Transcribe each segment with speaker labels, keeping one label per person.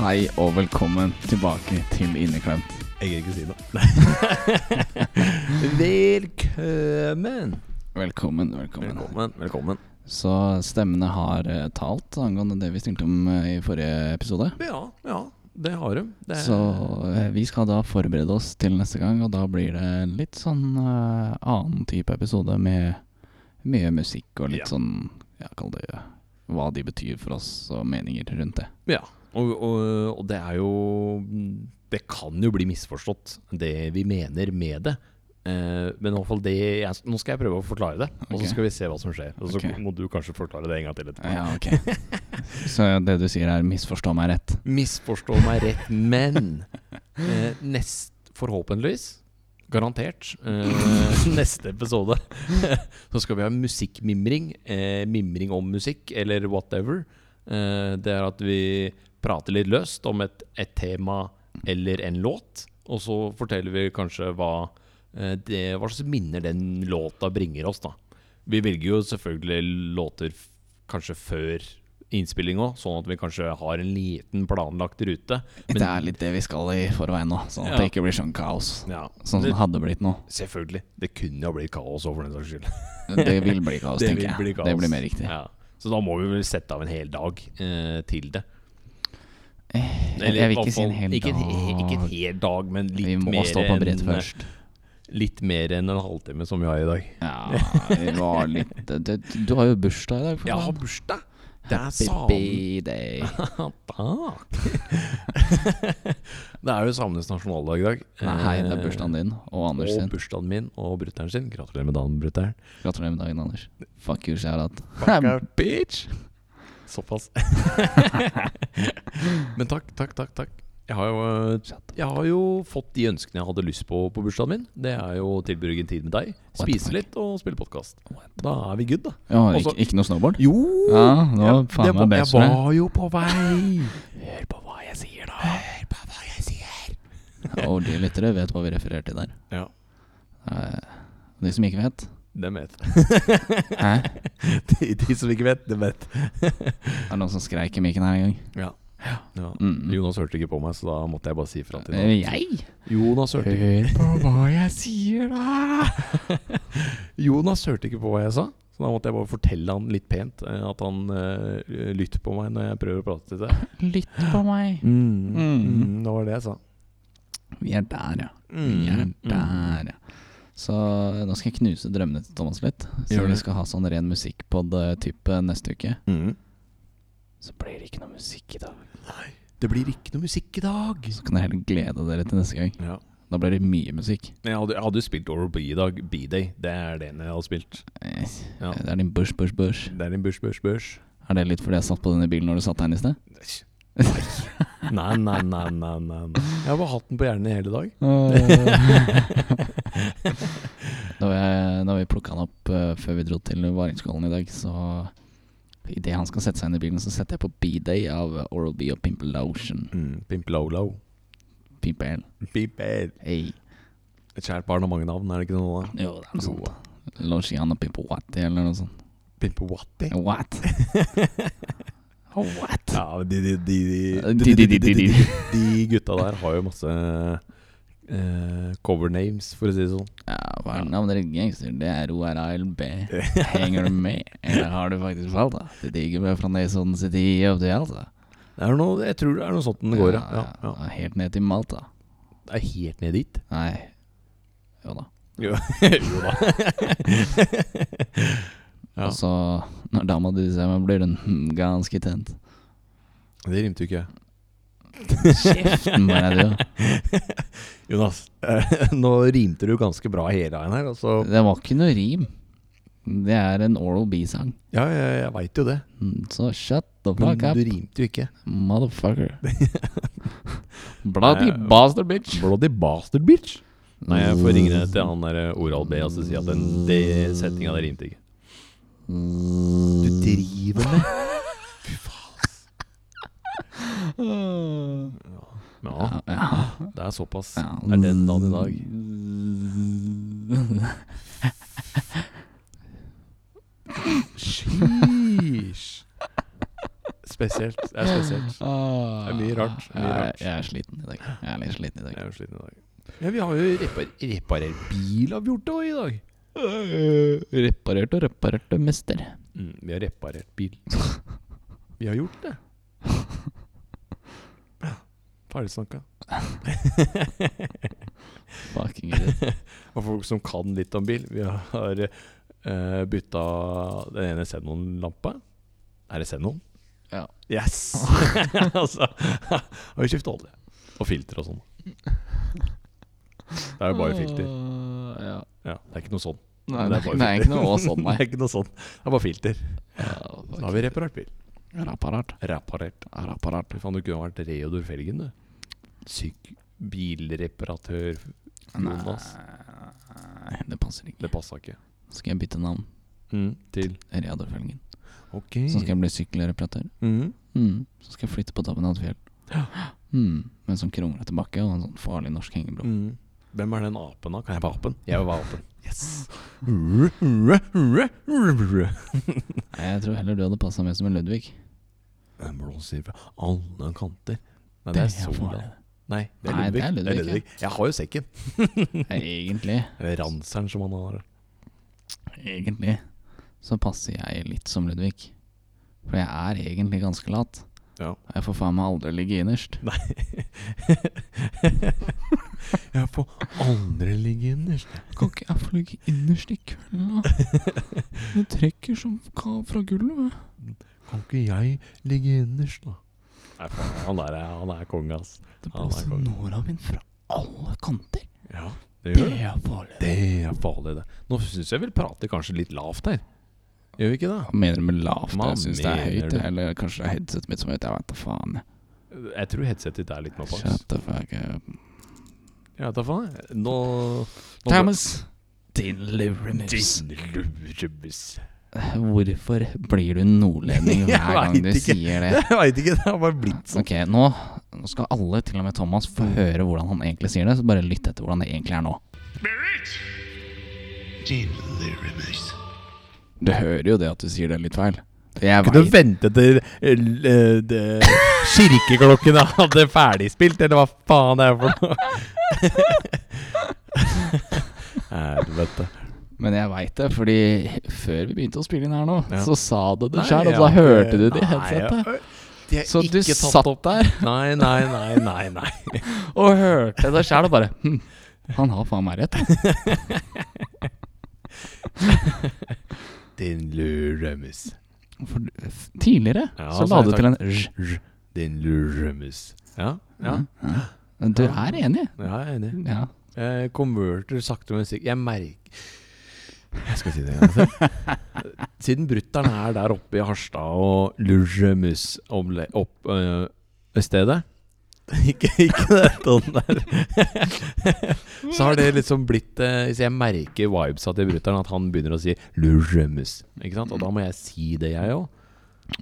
Speaker 1: Hei og velkommen tilbake til Inneklemt.
Speaker 2: Jeg gidder ikke si det. Velkommen.
Speaker 1: Velkommen, velkommen.
Speaker 2: Velkommen. velkommen
Speaker 1: Så stemmene har eh, talt angående det vi stilte om eh, i forrige episode.
Speaker 2: Ja, ja, det har de. Det er-
Speaker 1: Så eh, vi skal da forberede oss til neste gang, og da blir det litt sånn eh, annen type episode med mye musikk og litt
Speaker 2: Ja.
Speaker 1: sånn Ja, kall det hva de betyr for oss og meninger rundt det.
Speaker 2: Ja. Og, og, og det er jo Det kan jo bli misforstått, det vi mener med det. Eh, men i hvert fall det jeg, Nå skal jeg prøve å forklare det, og
Speaker 1: Ok.
Speaker 2: så skal vi se hva som skjer. Og så
Speaker 1: Ok.
Speaker 2: må du kanskje forklare det en gang til etterpå.
Speaker 1: Ja, ok. Så det du sier er 'misforstå meg rett'.
Speaker 2: Misforstå meg rett, men eh, nest, Forhåpentligvis, garantert, eh, neste episode så skal vi ha musikkmimring. Eh, mimring om musikk, eller whatever. Eh, det er at vi prater litt løst om et, et tema eller en låt, og så forteller vi kanskje hva, eh, det, hva slags minner den låta bringer oss, da. Vi velger jo selvfølgelig låter f- kanskje før innspilling òg, sånn at vi kanskje har en liten planlagt rute.
Speaker 1: Det er litt det vi skal i forveien nå, sånn at
Speaker 2: Ja.
Speaker 1: det ikke blir sånn kaos.
Speaker 2: ja,
Speaker 1: Sånn som det
Speaker 2: det,
Speaker 1: hadde blitt nå.
Speaker 2: selvfølgelig. Det kunne jo blitt kaos òg, for den saks skyld.
Speaker 1: Det vil bli kaos,
Speaker 2: Det
Speaker 1: tenker
Speaker 2: vil
Speaker 1: jeg.
Speaker 2: bli kaos.
Speaker 1: Det blir mer riktig.
Speaker 2: Ja. Så da må vi vel sette av en hel dag eh, til det.
Speaker 1: Jeg, jeg vil
Speaker 2: i hvert
Speaker 1: ikke si en
Speaker 2: fall-
Speaker 1: hel
Speaker 2: ikke
Speaker 1: dag.
Speaker 2: he- ikke en hel dag, men litt
Speaker 1: vi må
Speaker 2: mer
Speaker 1: stå på brett
Speaker 2: enn- eh,
Speaker 1: først.
Speaker 2: Litt mer enn en halvtime som vi har i dag.
Speaker 1: Ja, vi var litt det, det, Du har jo bursdag i dag. for
Speaker 2: Jeg har
Speaker 1: faen.
Speaker 2: bursdag! Det er
Speaker 1: Happy
Speaker 2: samen...
Speaker 1: birthday.
Speaker 2: Takk. Ah. det er jo samenes nasjonaldag i dag. Eh,
Speaker 1: Nei, hei, det er bursdagen din og Anders
Speaker 2: Og
Speaker 1: sin.
Speaker 2: bursdagen min og brutter'n sin. Gratulerer med dagen, brutter'n.
Speaker 1: Gratulerer med dagen, Anders. Fuck you, shout-out.
Speaker 2: Bitch! Såpass. Men takk, takk, takk. takk Jeg har jo, eh, jeg har jo fått de ønskene jeg hadde lyst på på bursdagen min. Det er jo å tilbringe tid med deg,
Speaker 1: the
Speaker 2: spise
Speaker 1: fuck?
Speaker 2: litt og spille podkast. Da er vi good, da.
Speaker 1: Ja,
Speaker 2: Også-
Speaker 1: ikke, ikke noe snowboard?
Speaker 2: Jo!
Speaker 1: Ja, det var faen
Speaker 2: det
Speaker 1: meg
Speaker 2: var-
Speaker 1: best for
Speaker 2: Jeg
Speaker 1: deg.
Speaker 2: var jo på vei. Hør på hva jeg sier, da. Hør på hva jeg sier.
Speaker 1: Og de lyttere vet hva vi refererer til der.
Speaker 2: Ja,
Speaker 1: Eh, De som ikke vet
Speaker 2: dem vet
Speaker 1: Hæ?
Speaker 2: de, de som ikke vet, dem vet.
Speaker 1: Er det noen som skreik i mikken her en gang?
Speaker 2: Ja. ja.
Speaker 1: Mm.
Speaker 2: Jonas hørte ikke på meg, så da måtte jeg bare si ifra til
Speaker 1: Eh,
Speaker 2: ham.
Speaker 1: Jeg?
Speaker 2: Jonas hørte ikke
Speaker 1: Hør
Speaker 2: på hva jeg sier, da! Jonas hørte ikke på hva jeg sa, så da måtte jeg bare fortelle han litt pent eh, at han eh, lytter på meg når jeg prøver å prate til deg.
Speaker 1: Lytt på meg. Mm,
Speaker 2: det var det jeg sa.
Speaker 1: Vi er der, ja.
Speaker 2: Mm,
Speaker 1: Vi er der, ja. Så nå skal jeg knuse drømmene til Thomas litt. Så
Speaker 2: Gjør
Speaker 1: vi
Speaker 2: det.
Speaker 1: skal ha sånn ren musikkpod-type neste uke.
Speaker 2: Mm.
Speaker 1: Så blir det ikke noe musikk i dag.
Speaker 2: Det blir ikke noe musikk i dag.
Speaker 1: Så kan dere heller glede dere til neste gang.
Speaker 2: Ja.
Speaker 1: Da blir det mye musikk.
Speaker 2: Men Jeg hadde, jeg hadde jo spilt Oral B i dag. B-Day. Det er det jeg hadde spilt.
Speaker 1: Eh,
Speaker 2: Ja.
Speaker 1: Det er din bush, bush, bush.
Speaker 2: Det er din bush, bush, bush.
Speaker 1: Er det litt fordi jeg satt på den i bilen når du satt her i sted?
Speaker 2: Nei, nei, nei, nei, nei. Jeg har bare hatt den på hjernen i hele dag.
Speaker 1: da, jeg, da vi plukka han opp eh, før vi dro til Varingskollen i dag, så Idet han skal sette seg inn i bilen, så setter jeg på B-Day av Oral B og Pimple Lotion.
Speaker 2: Mm. Pimp Low-Low.
Speaker 1: Pimple.
Speaker 2: Pimper.
Speaker 1: Hey.
Speaker 2: Et kjært barn har mange navn, er det ikke noe?
Speaker 1: Jo, det er noe
Speaker 2: Jo.
Speaker 1: sånt. Altså, Lotion og Pimple Watty eller noe sånt.
Speaker 2: Pimpawatti?
Speaker 1: What? What?
Speaker 2: Ja, men de, de, de,
Speaker 1: Eh,
Speaker 2: de, de, de, de, de,
Speaker 1: de-
Speaker 2: de, de gutta der har jo masse eh, cover names, for å si det sånn.
Speaker 1: Ja, hva er navnet ditt, gangster? Det er ORALB. Henger du med, eller har du faktisk falt? da? Det digger meg fra Nesodden City opp til Alta.
Speaker 2: Det er noe, jeg tror det er noe sånt den går, ja. ja, ja.
Speaker 1: Helt ned til Malta.
Speaker 2: Det er helt ned dit.
Speaker 1: Nei Jo da.
Speaker 2: Jo, da. Ja.
Speaker 1: Og så, når dama di ser meg, blir hun hmm, ganske tent.
Speaker 2: Det rimte jo ikke jeg.
Speaker 1: Kjeften på deg, du.
Speaker 2: Jonas, eh, nå rimte du ganske bra hele veien her. Altså.
Speaker 1: Det var ikke noe rim. Det er en Oral B-sang.
Speaker 2: Ja, jeg, jeg veit jo det,
Speaker 1: Mm, Så shut the
Speaker 2: men
Speaker 1: fuck
Speaker 2: du
Speaker 1: up,
Speaker 2: rimte jo ikke.
Speaker 1: motherfucker. Bloody
Speaker 2: Nei,
Speaker 1: bastard bitch.
Speaker 2: Bloody bastard, bitch. Nei, jeg får ringe ned til han der eh, Oral B og så si at den
Speaker 1: Mm.
Speaker 2: de settinga der rimte ikke. Du driver med Fy faen. Ja,
Speaker 1: Ja, ja.
Speaker 2: det er såpass.
Speaker 1: Ja.
Speaker 2: Det er den dagen i dag. Sheesh. Spesielt. Det er spesielt.
Speaker 1: Det
Speaker 2: er mye rart,
Speaker 1: Ah.
Speaker 2: mye
Speaker 1: jeg,
Speaker 2: rart.
Speaker 1: jeg er sliten i dag. Jeg er litt sliten i
Speaker 2: Jeg
Speaker 1: dag.
Speaker 2: er jo sliten i dag. Ja, vi har jo repar reparert bil, har vi gjort det også i dag.
Speaker 1: Reparert og reparert og mester.
Speaker 2: Mm, vi har reparert bil. Vi har gjort det. Ferdig snakka.
Speaker 1: Fucking idiot.
Speaker 2: Og folk som kan litt om bil. Vi har uh, bytta den ene Xenon-lampa. Er det Xenon?
Speaker 1: Ja.
Speaker 2: Yes! altså, og vi skifter olje. Og filter og sånn. Det er jo bare filter.
Speaker 1: Åh, Ah, Ja.
Speaker 2: Ja, det er ikke noe sånn.
Speaker 1: Nei,
Speaker 2: Men
Speaker 1: det, det
Speaker 2: bare
Speaker 1: er ikke
Speaker 2: filter.
Speaker 1: noe å sånn, nei.
Speaker 2: det er ikke noe sånn. Det er bare filter.
Speaker 1: Ja,
Speaker 2: Så har vi reparert bil.
Speaker 1: Reparert.
Speaker 2: Reparert.
Speaker 1: Reparert.
Speaker 2: Fy faen, du kunne ha vært Reodor Felgen, du. Syk bilreparatør Jonas.
Speaker 1: Nei, det passer ikke.
Speaker 2: Det passa ikke. Mm,
Speaker 1: Skal jeg bytte navn?
Speaker 2: Til
Speaker 1: Reador Felgen.
Speaker 2: Ok.
Speaker 1: Så Sånn skal jeg bli sykkelreparatør.
Speaker 2: Mhm.
Speaker 1: Mm. Så skal jeg flytte på toppen av et fjell. Mm. Med en sånn kronglete tilbake og en sånn farlig norsk hengebro.
Speaker 2: Mhm. Hvem er den apen, da? Kan jeg være apen? Jeg vil være apen. Yes. Den
Speaker 1: Nei, Jeg tror heller du hadde passa meg som en Ludvig.
Speaker 2: blåser fra alle kanter. Nei, det er sola. Nei, det er
Speaker 1: Nei, det er
Speaker 2: Ludvig. Det er
Speaker 1: Ludvig,
Speaker 2: Ludvig. Jeg har jo sekken.
Speaker 1: farlig. Egentlig,
Speaker 2: Eller ranseren, som han har.
Speaker 1: egentlig så passer jeg litt som Ludvig. For jeg er egentlig ganske lat.
Speaker 2: Ja.
Speaker 1: Jeg får faen meg aldri ligge innerst.
Speaker 2: Jeg får aldri ligge innerst.
Speaker 1: Kan ikke jeg få ligge innerst i kveld, da? Det trekker som fra gulvet.
Speaker 2: Kan ikke jeg ligge innerst, da? Nei, faen, han der er, han er konge, ass.
Speaker 1: Det
Speaker 2: Ja, der
Speaker 1: blåser
Speaker 2: kom den.
Speaker 1: nåla min fra alle kanter.
Speaker 2: Ja, det
Speaker 1: Det
Speaker 2: gjør det.
Speaker 1: er farlig.
Speaker 2: Det er farlig, det. Nå syns jeg vi prater kanskje litt lavt her. Gjør vi ikke det?
Speaker 1: Hva mener du med lavt?
Speaker 2: Hva
Speaker 1: Jeg syns det er
Speaker 2: mener
Speaker 1: høyt.
Speaker 2: du?
Speaker 1: jeg. Eller kanskje det er headsetet mitt som er høyt. Jeg vet da faen. jeg.
Speaker 2: Jeg tror headsetet ditt er litt napp, ass.
Speaker 1: Shut the fuck up.
Speaker 2: Jeg vet da faen, jeg. Nå, nå
Speaker 1: Thomas! Din luremus.
Speaker 2: Din lurebuss.
Speaker 1: Hvorfor blir du nordlending
Speaker 2: Jeg
Speaker 1: hver gang
Speaker 2: vet
Speaker 1: du
Speaker 2: ikke.
Speaker 1: sier det?
Speaker 2: Jeg veit ikke, det har bare blitt sånn.
Speaker 1: Ok, nå, nå skal alle, til og med Thomas, få høre hvordan han egentlig sier det. Så bare lytt etter hvordan det egentlig er nå.
Speaker 3: Delirimus.
Speaker 1: Du hører jo det at du sier det litt feil. Jeg
Speaker 2: Kunne
Speaker 1: vet.
Speaker 2: vente til eh, l- eh, det- kirkeklokkene hadde ferdigspilt, eller hva faen det er for noe. Helvete.
Speaker 1: Men jeg veit det, fordi før vi begynte å spille inn her nå,
Speaker 2: Ja.
Speaker 1: så sa du det
Speaker 2: Nei,
Speaker 1: sjøl,
Speaker 2: jeg
Speaker 1: og da
Speaker 2: har ikke-
Speaker 1: hørte du det i
Speaker 2: Nei,
Speaker 1: headsetet.
Speaker 2: jeg- de er
Speaker 1: Så du
Speaker 2: ikke tatt
Speaker 1: satt
Speaker 2: opp.
Speaker 1: der
Speaker 2: Nei, nei, nei, nei. nei
Speaker 1: og hørte det sjøl og bare hm, Han har faen meg rett. altså.
Speaker 2: Din luremus.
Speaker 1: For tidligere
Speaker 2: Ja,
Speaker 1: så
Speaker 2: så
Speaker 1: la
Speaker 2: jeg
Speaker 1: du
Speaker 2: tar-
Speaker 1: til en r.
Speaker 2: Din luremus. Ja, ja,
Speaker 1: Du er enig?
Speaker 2: ja, jeg er enig.
Speaker 1: Ja.
Speaker 2: Jeg konverter sakte, men sikkert. Jeg merker Jeg skal si det en gang til. Siden brutter'n er der oppe i Harstad og Lurremus omle- opp øh, stedet ikke, ikke det sånn der. så har det liksom blitt eh, Så jeg merker vibesa til brutter'n, at han begynner å si 'Lurremus'. Ikke sant? Og da må jeg si det, jeg òg.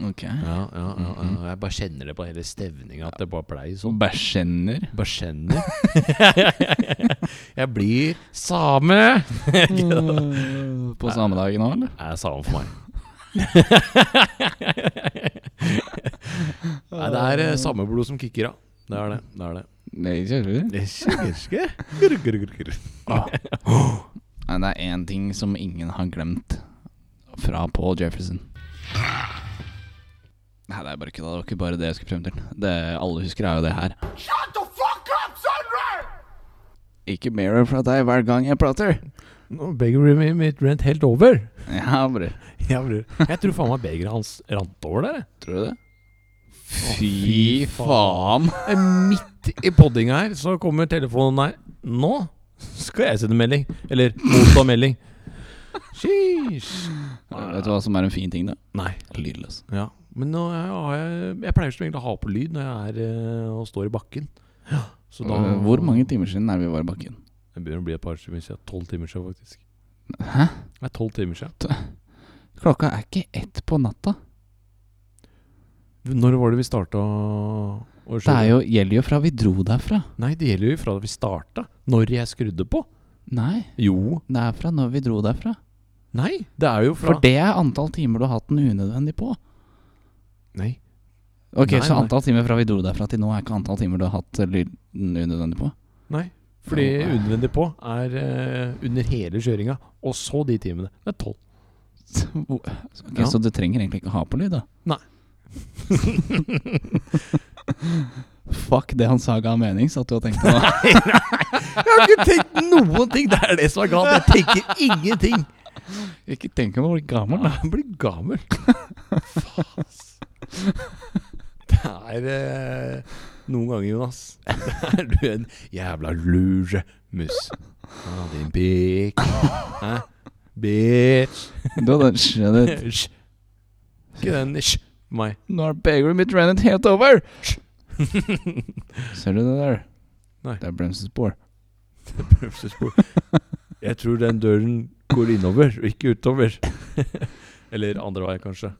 Speaker 1: Ok.
Speaker 2: Ja, ja, ja, ja. Jeg bare kjenner det på hele stemninga at det bare blei sånn.
Speaker 1: Så bæsjenner.
Speaker 2: Bare skjønner. jeg blir same!
Speaker 1: På samme dagen òg, eller?
Speaker 2: Er same for meg. Nei, det er eh, sameblod som kicker av. Det er det. det, er det.
Speaker 1: Nei, kjører du?
Speaker 2: Grr, grr, grr, grr.
Speaker 1: Nei, det er én ting som ingen har glemt fra Paul Jefferson. Nei, det er bare ikke det. Det var ikke bare det jeg skulle frem til. Det alle husker, er jo det her. Ikke mer fra deg hver gang jeg prater.
Speaker 2: Nå begeret mi- mitt rent helt over.
Speaker 1: Ja, bror.
Speaker 2: Jeg, blir- jeg tror faen meg begeret hans rant over der. jeg.
Speaker 1: Tror du det? Fy
Speaker 2: fy
Speaker 1: faen.
Speaker 2: Eh, Midt i poddinga her så kommer telefonen her. Nå skal jeg sende melding. Eller motta melding. Sheesh.
Speaker 1: Vet du hva som er en fin ting, da?
Speaker 2: Nei.
Speaker 1: Lydløs.
Speaker 2: Ja, men nå har jeg, jeg pleier som regel å ha på lyd når jeg er eh, og står i bakken. Så da
Speaker 1: Hvor mange timer siden er vi var i bakken?
Speaker 2: Det begynner å bli et par timer siden. Tolv timer siden, faktisk.
Speaker 1: Hæ?
Speaker 2: Det er tolv timer siden.
Speaker 1: Klokka er ikke ett på natta.
Speaker 2: Når var det vi starta Og
Speaker 1: Det er
Speaker 2: skjønner-
Speaker 1: jo, gjelder jo fra vi dro derfra.
Speaker 2: Nei, det gjelder jo fra da vi starta. Når jeg skrudde på.
Speaker 1: Nei,
Speaker 2: Jo.
Speaker 1: det er fra når vi dro derfra.
Speaker 2: Nei, det er jo fra
Speaker 1: For det er antall timer du har hatt den unødvendig på.
Speaker 2: Nei.
Speaker 1: Ok,
Speaker 2: Nei,
Speaker 1: Så
Speaker 2: nei.
Speaker 1: antall timer fra vi dro derfra til nå er ikke antall timer du har hatt lyden unødvendig på?
Speaker 2: Nei. Fordi
Speaker 1: Ja.
Speaker 2: unødvendig på er eh, under hele kjøringa, og så de timene. Det er tolv.
Speaker 1: Hvor- Ok,
Speaker 2: Ja.
Speaker 1: Så du trenger egentlig ikke ha på lyd, da?
Speaker 2: Nei.
Speaker 1: Fuck det han sa ga mening, satt du og tenkte nå.
Speaker 2: Jeg har ikke tenkt noen ting! Det er det som er galt. Jeg tenker ingenting.
Speaker 1: Ikke tenk om å bli gammel, da.
Speaker 2: Jeg blir gammel. Faen, ass. Det er eh, Noen ganger, Jonas, er du en jævla lure mus. Ah, din pikk. Hæ? Bitch.
Speaker 1: Du hadde skjedd det.
Speaker 2: Hysj. Ikke den hysj på meg.
Speaker 1: Nå er begeret mitt rennet helt over! Ser du det der?
Speaker 2: Nei.
Speaker 1: Det er bremsespor.
Speaker 2: Prøvelsesbord. Jeg tror den døren går innover, og ikke utover. Eller andre vei, kanskje.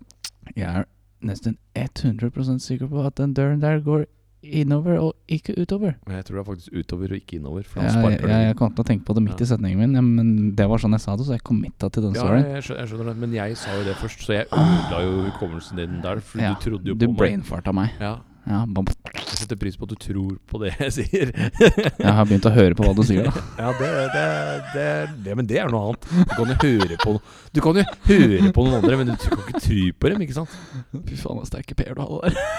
Speaker 1: Jeg er nesten 100 sikker på at den døren der går innover og ikke utover.
Speaker 2: Men jeg tror det er faktisk utover og ikke innover. For
Speaker 1: Ja,
Speaker 2: han
Speaker 1: jeg,
Speaker 2: sparker
Speaker 1: jeg,
Speaker 2: den.
Speaker 1: jeg kom til å tenke på det midt i setningen min, ja, men det var sånn jeg sa det, så jeg committa til den
Speaker 2: Ja,
Speaker 1: storyen.
Speaker 2: jeg, skjø- jeg skjønner det, men jeg sa jo det først, så jeg ødela jo hukommelsen din der. For
Speaker 1: Ja,
Speaker 2: du trodde jo
Speaker 1: Du
Speaker 2: på meg.
Speaker 1: brainfarta meg.
Speaker 2: Ja,
Speaker 1: Ja, bam.
Speaker 2: jeg setter pris på at du tror på det jeg sier.
Speaker 1: Jeg har begynt å høre på hva du sier, da.
Speaker 2: Ja, det, det, det, det Men det er noe annet. Du kan jo høre på no- Du kan jo høre på noen andre, men du kan ikke tro på dem, ikke sant?
Speaker 1: Fy faen, så sterke PR du hadde der.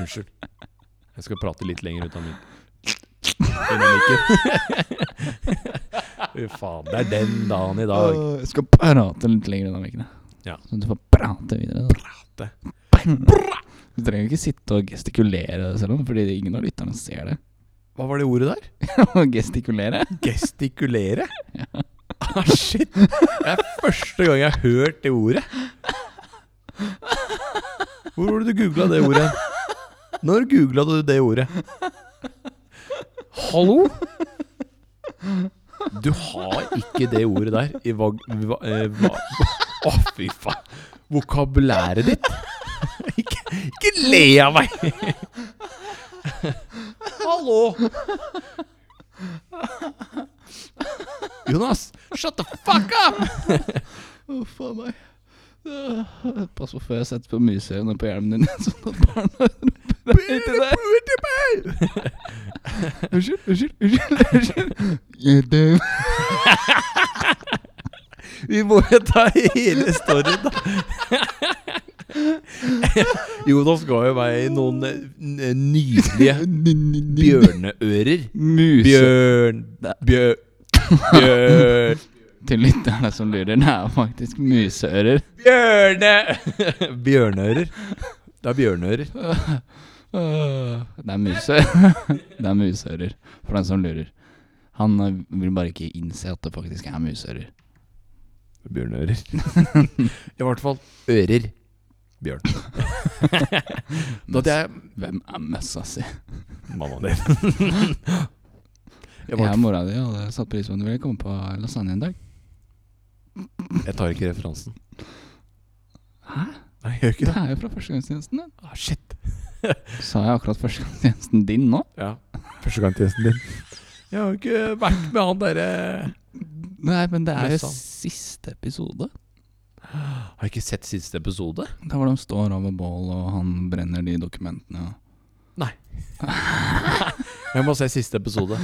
Speaker 2: Unnskyld. Jeg skal prate litt lenger ut av min dynamikken. Fy faen. Det er den dagen i dag.
Speaker 1: Jeg skal prate litt lenger unna mikken.
Speaker 2: Ja.
Speaker 1: Så du får prate videre. Da.
Speaker 2: Prate.
Speaker 1: Du trenger jo ikke sitte og gestikulere selv om, fordi ingen av lytterne ser det.
Speaker 2: Hva var det ordet der?
Speaker 1: Å gestikulere?
Speaker 2: Gestikulere? Ah, shit. Det er første gang jeg har hørt det ordet. Hvor var det du googla det ordet? Når googla du det ordet? Hallo? Du har ikke det ordet der i vag... Va, eh, va, å, fy faen. Vokabulæret ditt. Ikke, ikke le av meg! Hallo! Jonas, shut the fuck up!
Speaker 1: Å, faen meg. Pass på før jeg setter på musehøyene på hjelmen din, sånn at barna Unnskyld, unnskyld, unnskyld. unnskyld.
Speaker 2: Vi må jo ta hele storyen, da. Jonas ga jo meg noen eh, n- nydelige bjørneører.
Speaker 1: Muse
Speaker 2: Bjørn Bjørn Bjørn
Speaker 1: Til lytterne som lurer, det er faktisk museører.
Speaker 2: Bjørne Bjørneører. Det er bjørneører.
Speaker 1: Det er muse Det er museører, for den som lurer. Han eh, vil bare ikke innse at det faktisk er museører.
Speaker 2: Bjørneører. I hvert fall ører. Bjørn. Da hadde jeg
Speaker 1: Hvem er møssa si?
Speaker 2: Mammaen din. Jeg,
Speaker 1: Jeg
Speaker 2: var,
Speaker 1: og mora di hadde satt pris på om du ville komme på lasagne en dag.
Speaker 2: jeg tar ikke referansen.
Speaker 1: Hæ?
Speaker 2: Nei, jeg gjør
Speaker 1: Det
Speaker 2: ikke det.
Speaker 1: er jo fra førstegangstjenesten din.
Speaker 2: Ah, shit.
Speaker 1: Sa jeg akkurat førstegangstjenesten din nå?
Speaker 2: Ja. Førstegangstjenesten din. Jeg har jo ikke vært med han derre
Speaker 1: Nei, men det er jo
Speaker 2: Møssa.
Speaker 1: siste episode.
Speaker 2: Har jeg ikke sett siste episode?
Speaker 1: Der hvor de står over bål, og han brenner de dokumentene. og-
Speaker 2: Nei. Jeg må se siste episode.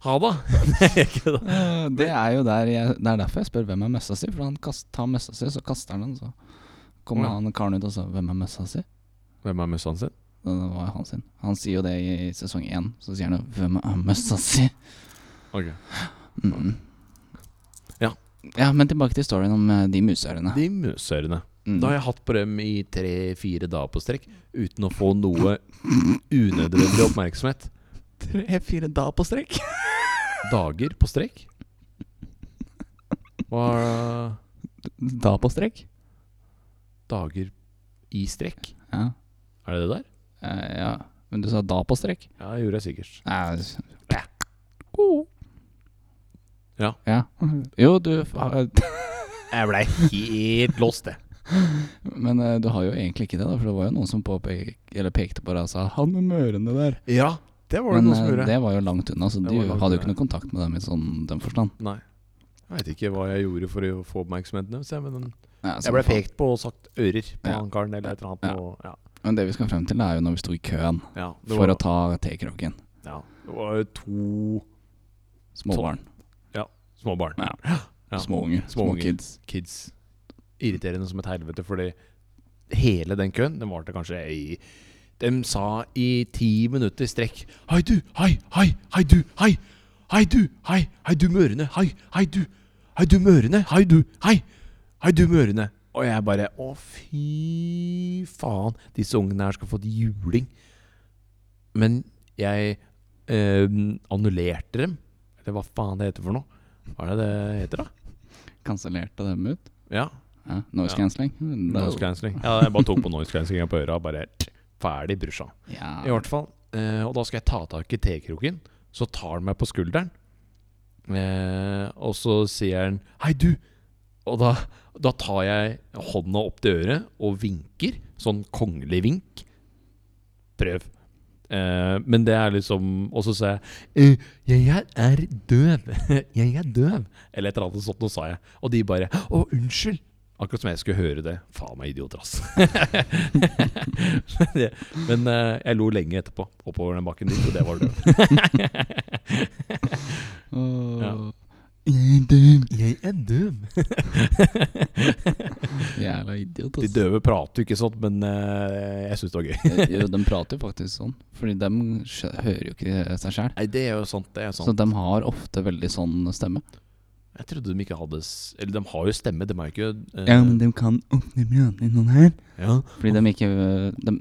Speaker 2: Ha det. Nei, jeg gjør ikke det.
Speaker 1: Eh, Det er jo der jeg, Det er derfor jeg spør hvem er møssa si. For han kast, tar møssa si, så kaster han den. Så kommer
Speaker 2: Å ja.
Speaker 1: han karen ut og sa 'Hvem er møssa si?'
Speaker 2: Hvem er musaen sin?
Speaker 1: Det var han sin. Han sier jo det i sesong én. Så sier han jo 'Hvem er møssa si?'
Speaker 2: Ok.
Speaker 1: Mm.
Speaker 2: Ja.
Speaker 1: ja. Men tilbake til storyen om eh, de musørene.
Speaker 2: De musørene.
Speaker 1: Mm.
Speaker 2: Da har jeg hatt på dem i tre-fire dager på strekk uten å få noe unødvendig oppmerksomhet.
Speaker 1: Tre-fire dager på strekk.
Speaker 2: Dager på strekk? Hva
Speaker 1: Da på strekk?
Speaker 2: Dager i strekk?
Speaker 1: Ja.
Speaker 2: Er det det der?
Speaker 1: Eh, ja. Men du sa da på strekk?
Speaker 2: Ja, det gjorde jeg sikkert.
Speaker 1: Nei, s-
Speaker 2: Ja.
Speaker 1: ja. Jo, du fa-
Speaker 2: Jeg blei helt lost, jeg.
Speaker 1: Men eh, du har jo egentlig ikke det, da, for det var jo noen som påpek, eller pekte på deg og sa 'han med mørene der'.
Speaker 2: Ja, det var
Speaker 1: Men
Speaker 2: det noen som
Speaker 1: eh,
Speaker 2: gjorde.
Speaker 1: det var jo langt unna, så
Speaker 2: Det
Speaker 1: du
Speaker 2: var langt
Speaker 1: hadde jo
Speaker 2: unna.
Speaker 1: ikke noe kontakt med dem i sånn den forstand.
Speaker 2: Nei. Jeg veit ikke hva jeg gjorde for å få oppmerksomheten deres. jeg, Men den,
Speaker 1: Ja,
Speaker 2: jeg
Speaker 1: så
Speaker 2: ble
Speaker 1: faen.
Speaker 2: pekt på og sagt ører på
Speaker 1: Ja.
Speaker 2: han karen eller et eller annet. Og, ja.
Speaker 1: Men det vi skal frem til, er jo når vi sto i køen
Speaker 2: Ja, det
Speaker 1: for
Speaker 2: var,
Speaker 1: å ta tekroken.
Speaker 2: ja, det var jo to
Speaker 1: Små
Speaker 2: Sånn.
Speaker 1: barn.
Speaker 2: små barn.
Speaker 1: Ja.
Speaker 2: Ja.
Speaker 1: Små unger.
Speaker 2: Små
Speaker 1: Små,
Speaker 2: unger.
Speaker 1: kids.
Speaker 2: Kids. Irriterende som et helvete, fordi hele den køen den varte kanskje i De sa i ti minutter strekk Hei, du! Hei! Hei! Hei, du! Hei! Hei, du! Hei! Hei, du mørene! Hei! Hei, du! Hei, du mørene! Hei, du! Hei! Hei, du mørene! Og jeg bare Å, fy faen! Disse ungene her skal få et juling. Men jeg eh, annullerte dem. Eller hva faen det heter for noe. Hva er det det heter, da?
Speaker 1: Kansellerte dem ut.
Speaker 2: Ja.
Speaker 1: Ja. Noise
Speaker 2: Ja.
Speaker 1: cancelling.
Speaker 2: Noise cancelling. Ja, jeg bare tok på noise cancellinga på øra. Bare ferdig, brorsan.
Speaker 1: Ja.
Speaker 2: I hvert fall. Eh, og da skal jeg ta tak i tekroken. Så tar han meg på skulderen. Eh, og så sier han 'hei, du'. Og da, da tar jeg hånda opp til øret og vinker. Sånn kongelig vink. Prøv. Eh, men det er liksom Og så sa jeg eh, 'Jeg er døv'. 'Jeg er døv'. Eller et eller annet sånt noe sa jeg. Og de bare 'Å, unnskyld'. Akkurat som jeg skulle høre det. Faen meg idioter, ass. Men det- men eh, jeg lo lenge etterpå oppover den bakken dit, og det var død.
Speaker 1: Åh.
Speaker 2: jeg er døv.
Speaker 1: Jævla idiot,
Speaker 2: De
Speaker 1: ass.
Speaker 2: døve prater jo ikke sånn, men eh, jeg syns det var gøy.
Speaker 1: jo, de prater jo faktisk sånn, Fordi de skjø- hører jo ikke seg sjæl.
Speaker 2: Nei, det er jo sant. Det er
Speaker 1: Så de har ofte veldig sånn stemme.
Speaker 2: Jeg trodde de ikke hadde s- Eller de har jo stemme, de er jo ikke eh,
Speaker 1: de kan åpne brødene noen her.
Speaker 2: ja.
Speaker 1: Fordi de ikke de,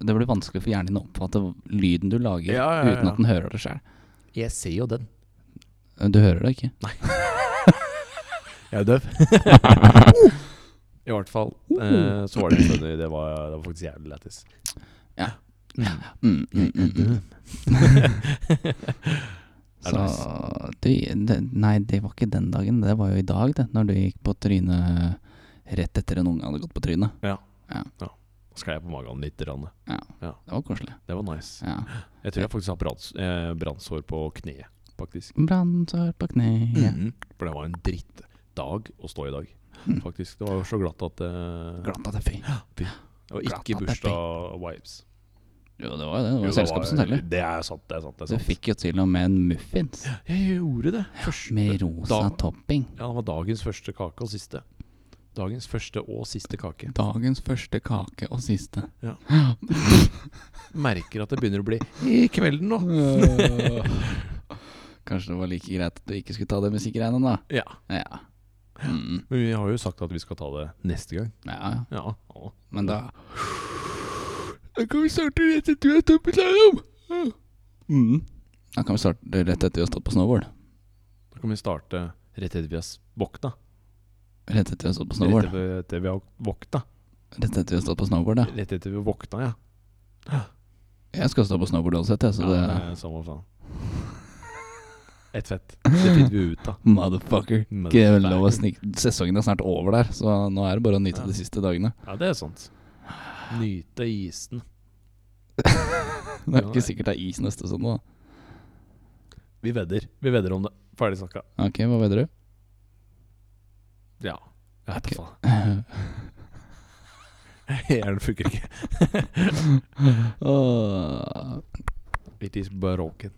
Speaker 1: Det blir vanskelig for hjernen din å oppfatte lyden du lager
Speaker 2: Ja, ja, ja,
Speaker 1: uten
Speaker 2: ja.
Speaker 1: at den hører det sjøl.
Speaker 2: Jeg ser jo den.
Speaker 1: Du hører det ikke.
Speaker 2: Jeg er døv. I hvert fall. eh, så var det en stund i- det var, det var faktisk jævlig lættis.
Speaker 1: Mm, mm, mm, mm.
Speaker 2: mm. Det er
Speaker 1: Så du, det, Nei, det var ikke den dagen. Det var jo i dag, det. Når du gikk på trynet rett etter en unge hadde gått på trynet.
Speaker 2: Sklei jeg på magen litt. Rann.
Speaker 1: Det var koselig.
Speaker 2: Det var nice.
Speaker 1: Ja.
Speaker 2: Jeg tror jeg faktisk har brans- eh, brannsår på kneet, faktisk.
Speaker 1: Brannsår på kneet.
Speaker 2: Mhm. For det var en drittdag å stå i dag,
Speaker 1: Mm.
Speaker 2: faktisk. Det var jo så glatt at eh,
Speaker 1: Glatt at det fikk.
Speaker 2: Det var
Speaker 1: glatt
Speaker 2: ikke
Speaker 1: at det
Speaker 2: bursdag-vibes.
Speaker 1: Jo, det var jo det. Det var
Speaker 2: Jo,
Speaker 1: jo selskapet som teller.
Speaker 2: Det er sant, det er sant. Det er
Speaker 1: Du
Speaker 2: sant.
Speaker 1: fikk jo til og med en muffins
Speaker 2: Jeg gjorde det. Første,
Speaker 1: med rosa
Speaker 2: da-
Speaker 1: topping.
Speaker 2: Ja, det var dagens første kake og siste. Dagens første og siste kake.
Speaker 1: Dagens første kake og siste.
Speaker 2: Ja. Merker at det begynner å bli i kvelden nå.
Speaker 1: Kanskje det var like greit at du ikke skulle ta det musikkgreiene, da.
Speaker 2: Ja,
Speaker 1: Ja. Mm.
Speaker 2: Men vi har jo sagt at vi skal ta det neste gang.
Speaker 1: ja, ja.
Speaker 2: Ja. ja.
Speaker 1: Men da
Speaker 2: Da kan vi starte rett etter du har stått på slalåm.
Speaker 1: mm. Da kan vi starte rett etter å ha stått på snowboard.
Speaker 2: Da kan vi starte rett etter vi har s- våkna.
Speaker 1: Rett etter å ha stått på
Speaker 2: Rett
Speaker 1: snowboard.
Speaker 2: etter- etter vi har våkna.
Speaker 1: Rett etter å ha stått på snowboard, ja.
Speaker 2: Rett etter vi har våkna, ja.
Speaker 1: Jeg skal stå på snowboard uansett, jeg, så
Speaker 2: ja
Speaker 1: det
Speaker 2: eh, Samme faen. Ett fett. Det finner vi ut av.
Speaker 1: Motherfucker.
Speaker 2: Men-
Speaker 1: Ikke lov å snik Sesongen er snart over der, så nå er det bare å nyte
Speaker 2: Ja.
Speaker 1: de siste dagene.
Speaker 2: Ja, det er sant. Nyte isen.
Speaker 1: Det er ikke sikkert det er is neste søndag. da.
Speaker 2: Vi vedder. Vi vedder om det. Ferdig snakka.
Speaker 1: Ok, hva vedder du?
Speaker 2: Ja. Jeg vet da faen. Hjernen funker ikke.
Speaker 1: Åh.
Speaker 2: It is broken.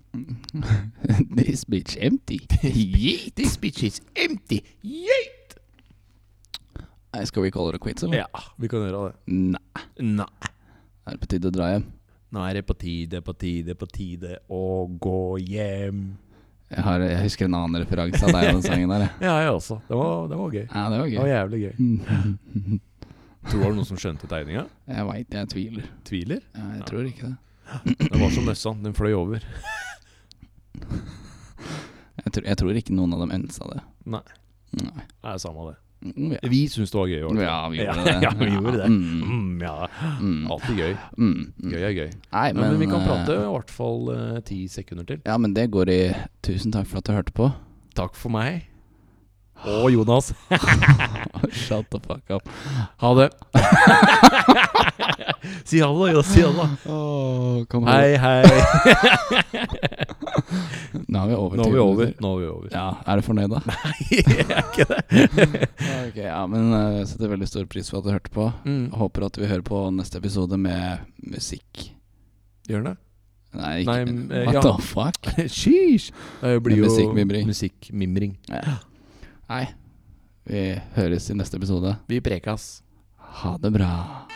Speaker 1: This bitch empty. Yeet.
Speaker 2: This bitch is empty. Yeah.
Speaker 1: Nei, Skal vi calle det quits, eller?
Speaker 2: Ja, vi kan gjøre det.
Speaker 1: Nei.
Speaker 2: Nei.
Speaker 1: Er det på tide å dra hjem?
Speaker 2: Nå er det på tide, på tide, på tide å gå hjem.
Speaker 1: Jeg, har, jeg husker en annen referanse av deg og den sangen der. jeg.
Speaker 2: Ja, jeg også. Det var, det var gøy.
Speaker 1: Ja, det var
Speaker 2: Det var
Speaker 1: gøy.
Speaker 2: jævlig gøy. Tror du det var noen som skjønte tegninga?
Speaker 1: Jeg veit jeg tviler.
Speaker 2: Tviler?
Speaker 1: Ja, jeg tror ikke det.
Speaker 2: Det var som møssa, den fløy over.
Speaker 1: Jeg tror, jeg tror ikke noen av dem ønska det.
Speaker 2: Nei,
Speaker 1: Nei.
Speaker 2: det er samme det.
Speaker 1: Mm, Ja.
Speaker 2: Vi syns det var gøy. i hvert fall.
Speaker 1: ja, vi gjorde det.
Speaker 2: Ja, vi gjorde det.
Speaker 1: Mm,
Speaker 2: Mm, ja,
Speaker 1: mm,
Speaker 2: alltid gøy.
Speaker 1: mm, mm.
Speaker 2: Gøy er gøy.
Speaker 1: Nei,
Speaker 2: Ja,
Speaker 1: men,
Speaker 2: men vi kan prate
Speaker 1: eh,
Speaker 2: i hvert fall eh, ti sekunder til.
Speaker 1: Ja, men det går i Tusen takk for at du hørte på.
Speaker 2: Takk for meg. Og Jonas.
Speaker 1: Shut the fuck up.
Speaker 2: Ha det. si ha det, da. Si ha det.
Speaker 1: Oh, kom her.
Speaker 2: Hei, hei.
Speaker 1: Nå er vi over.
Speaker 2: Nå er
Speaker 1: ti
Speaker 2: vi over.
Speaker 1: minutter.
Speaker 2: Nå er vi over.
Speaker 1: Ja, Er du fornøyd, da?
Speaker 2: Jeg er ikke det.
Speaker 1: Ok, ja, men eh, Jeg setter veldig stor pris på at du hørte på. Jeg
Speaker 2: Mm.
Speaker 1: håper at vi hører på neste episode med musikk.
Speaker 2: Gjør den det?
Speaker 1: Nei, ikke
Speaker 2: Nei, men, eh,
Speaker 1: What
Speaker 2: ja.
Speaker 1: the fuck?
Speaker 2: Sheesh. Det blir jo
Speaker 1: Musikkmimring.
Speaker 2: musikkmimring.
Speaker 1: Nei. Vi høres i neste episode.
Speaker 2: Vi prekas.
Speaker 1: Ha det bra.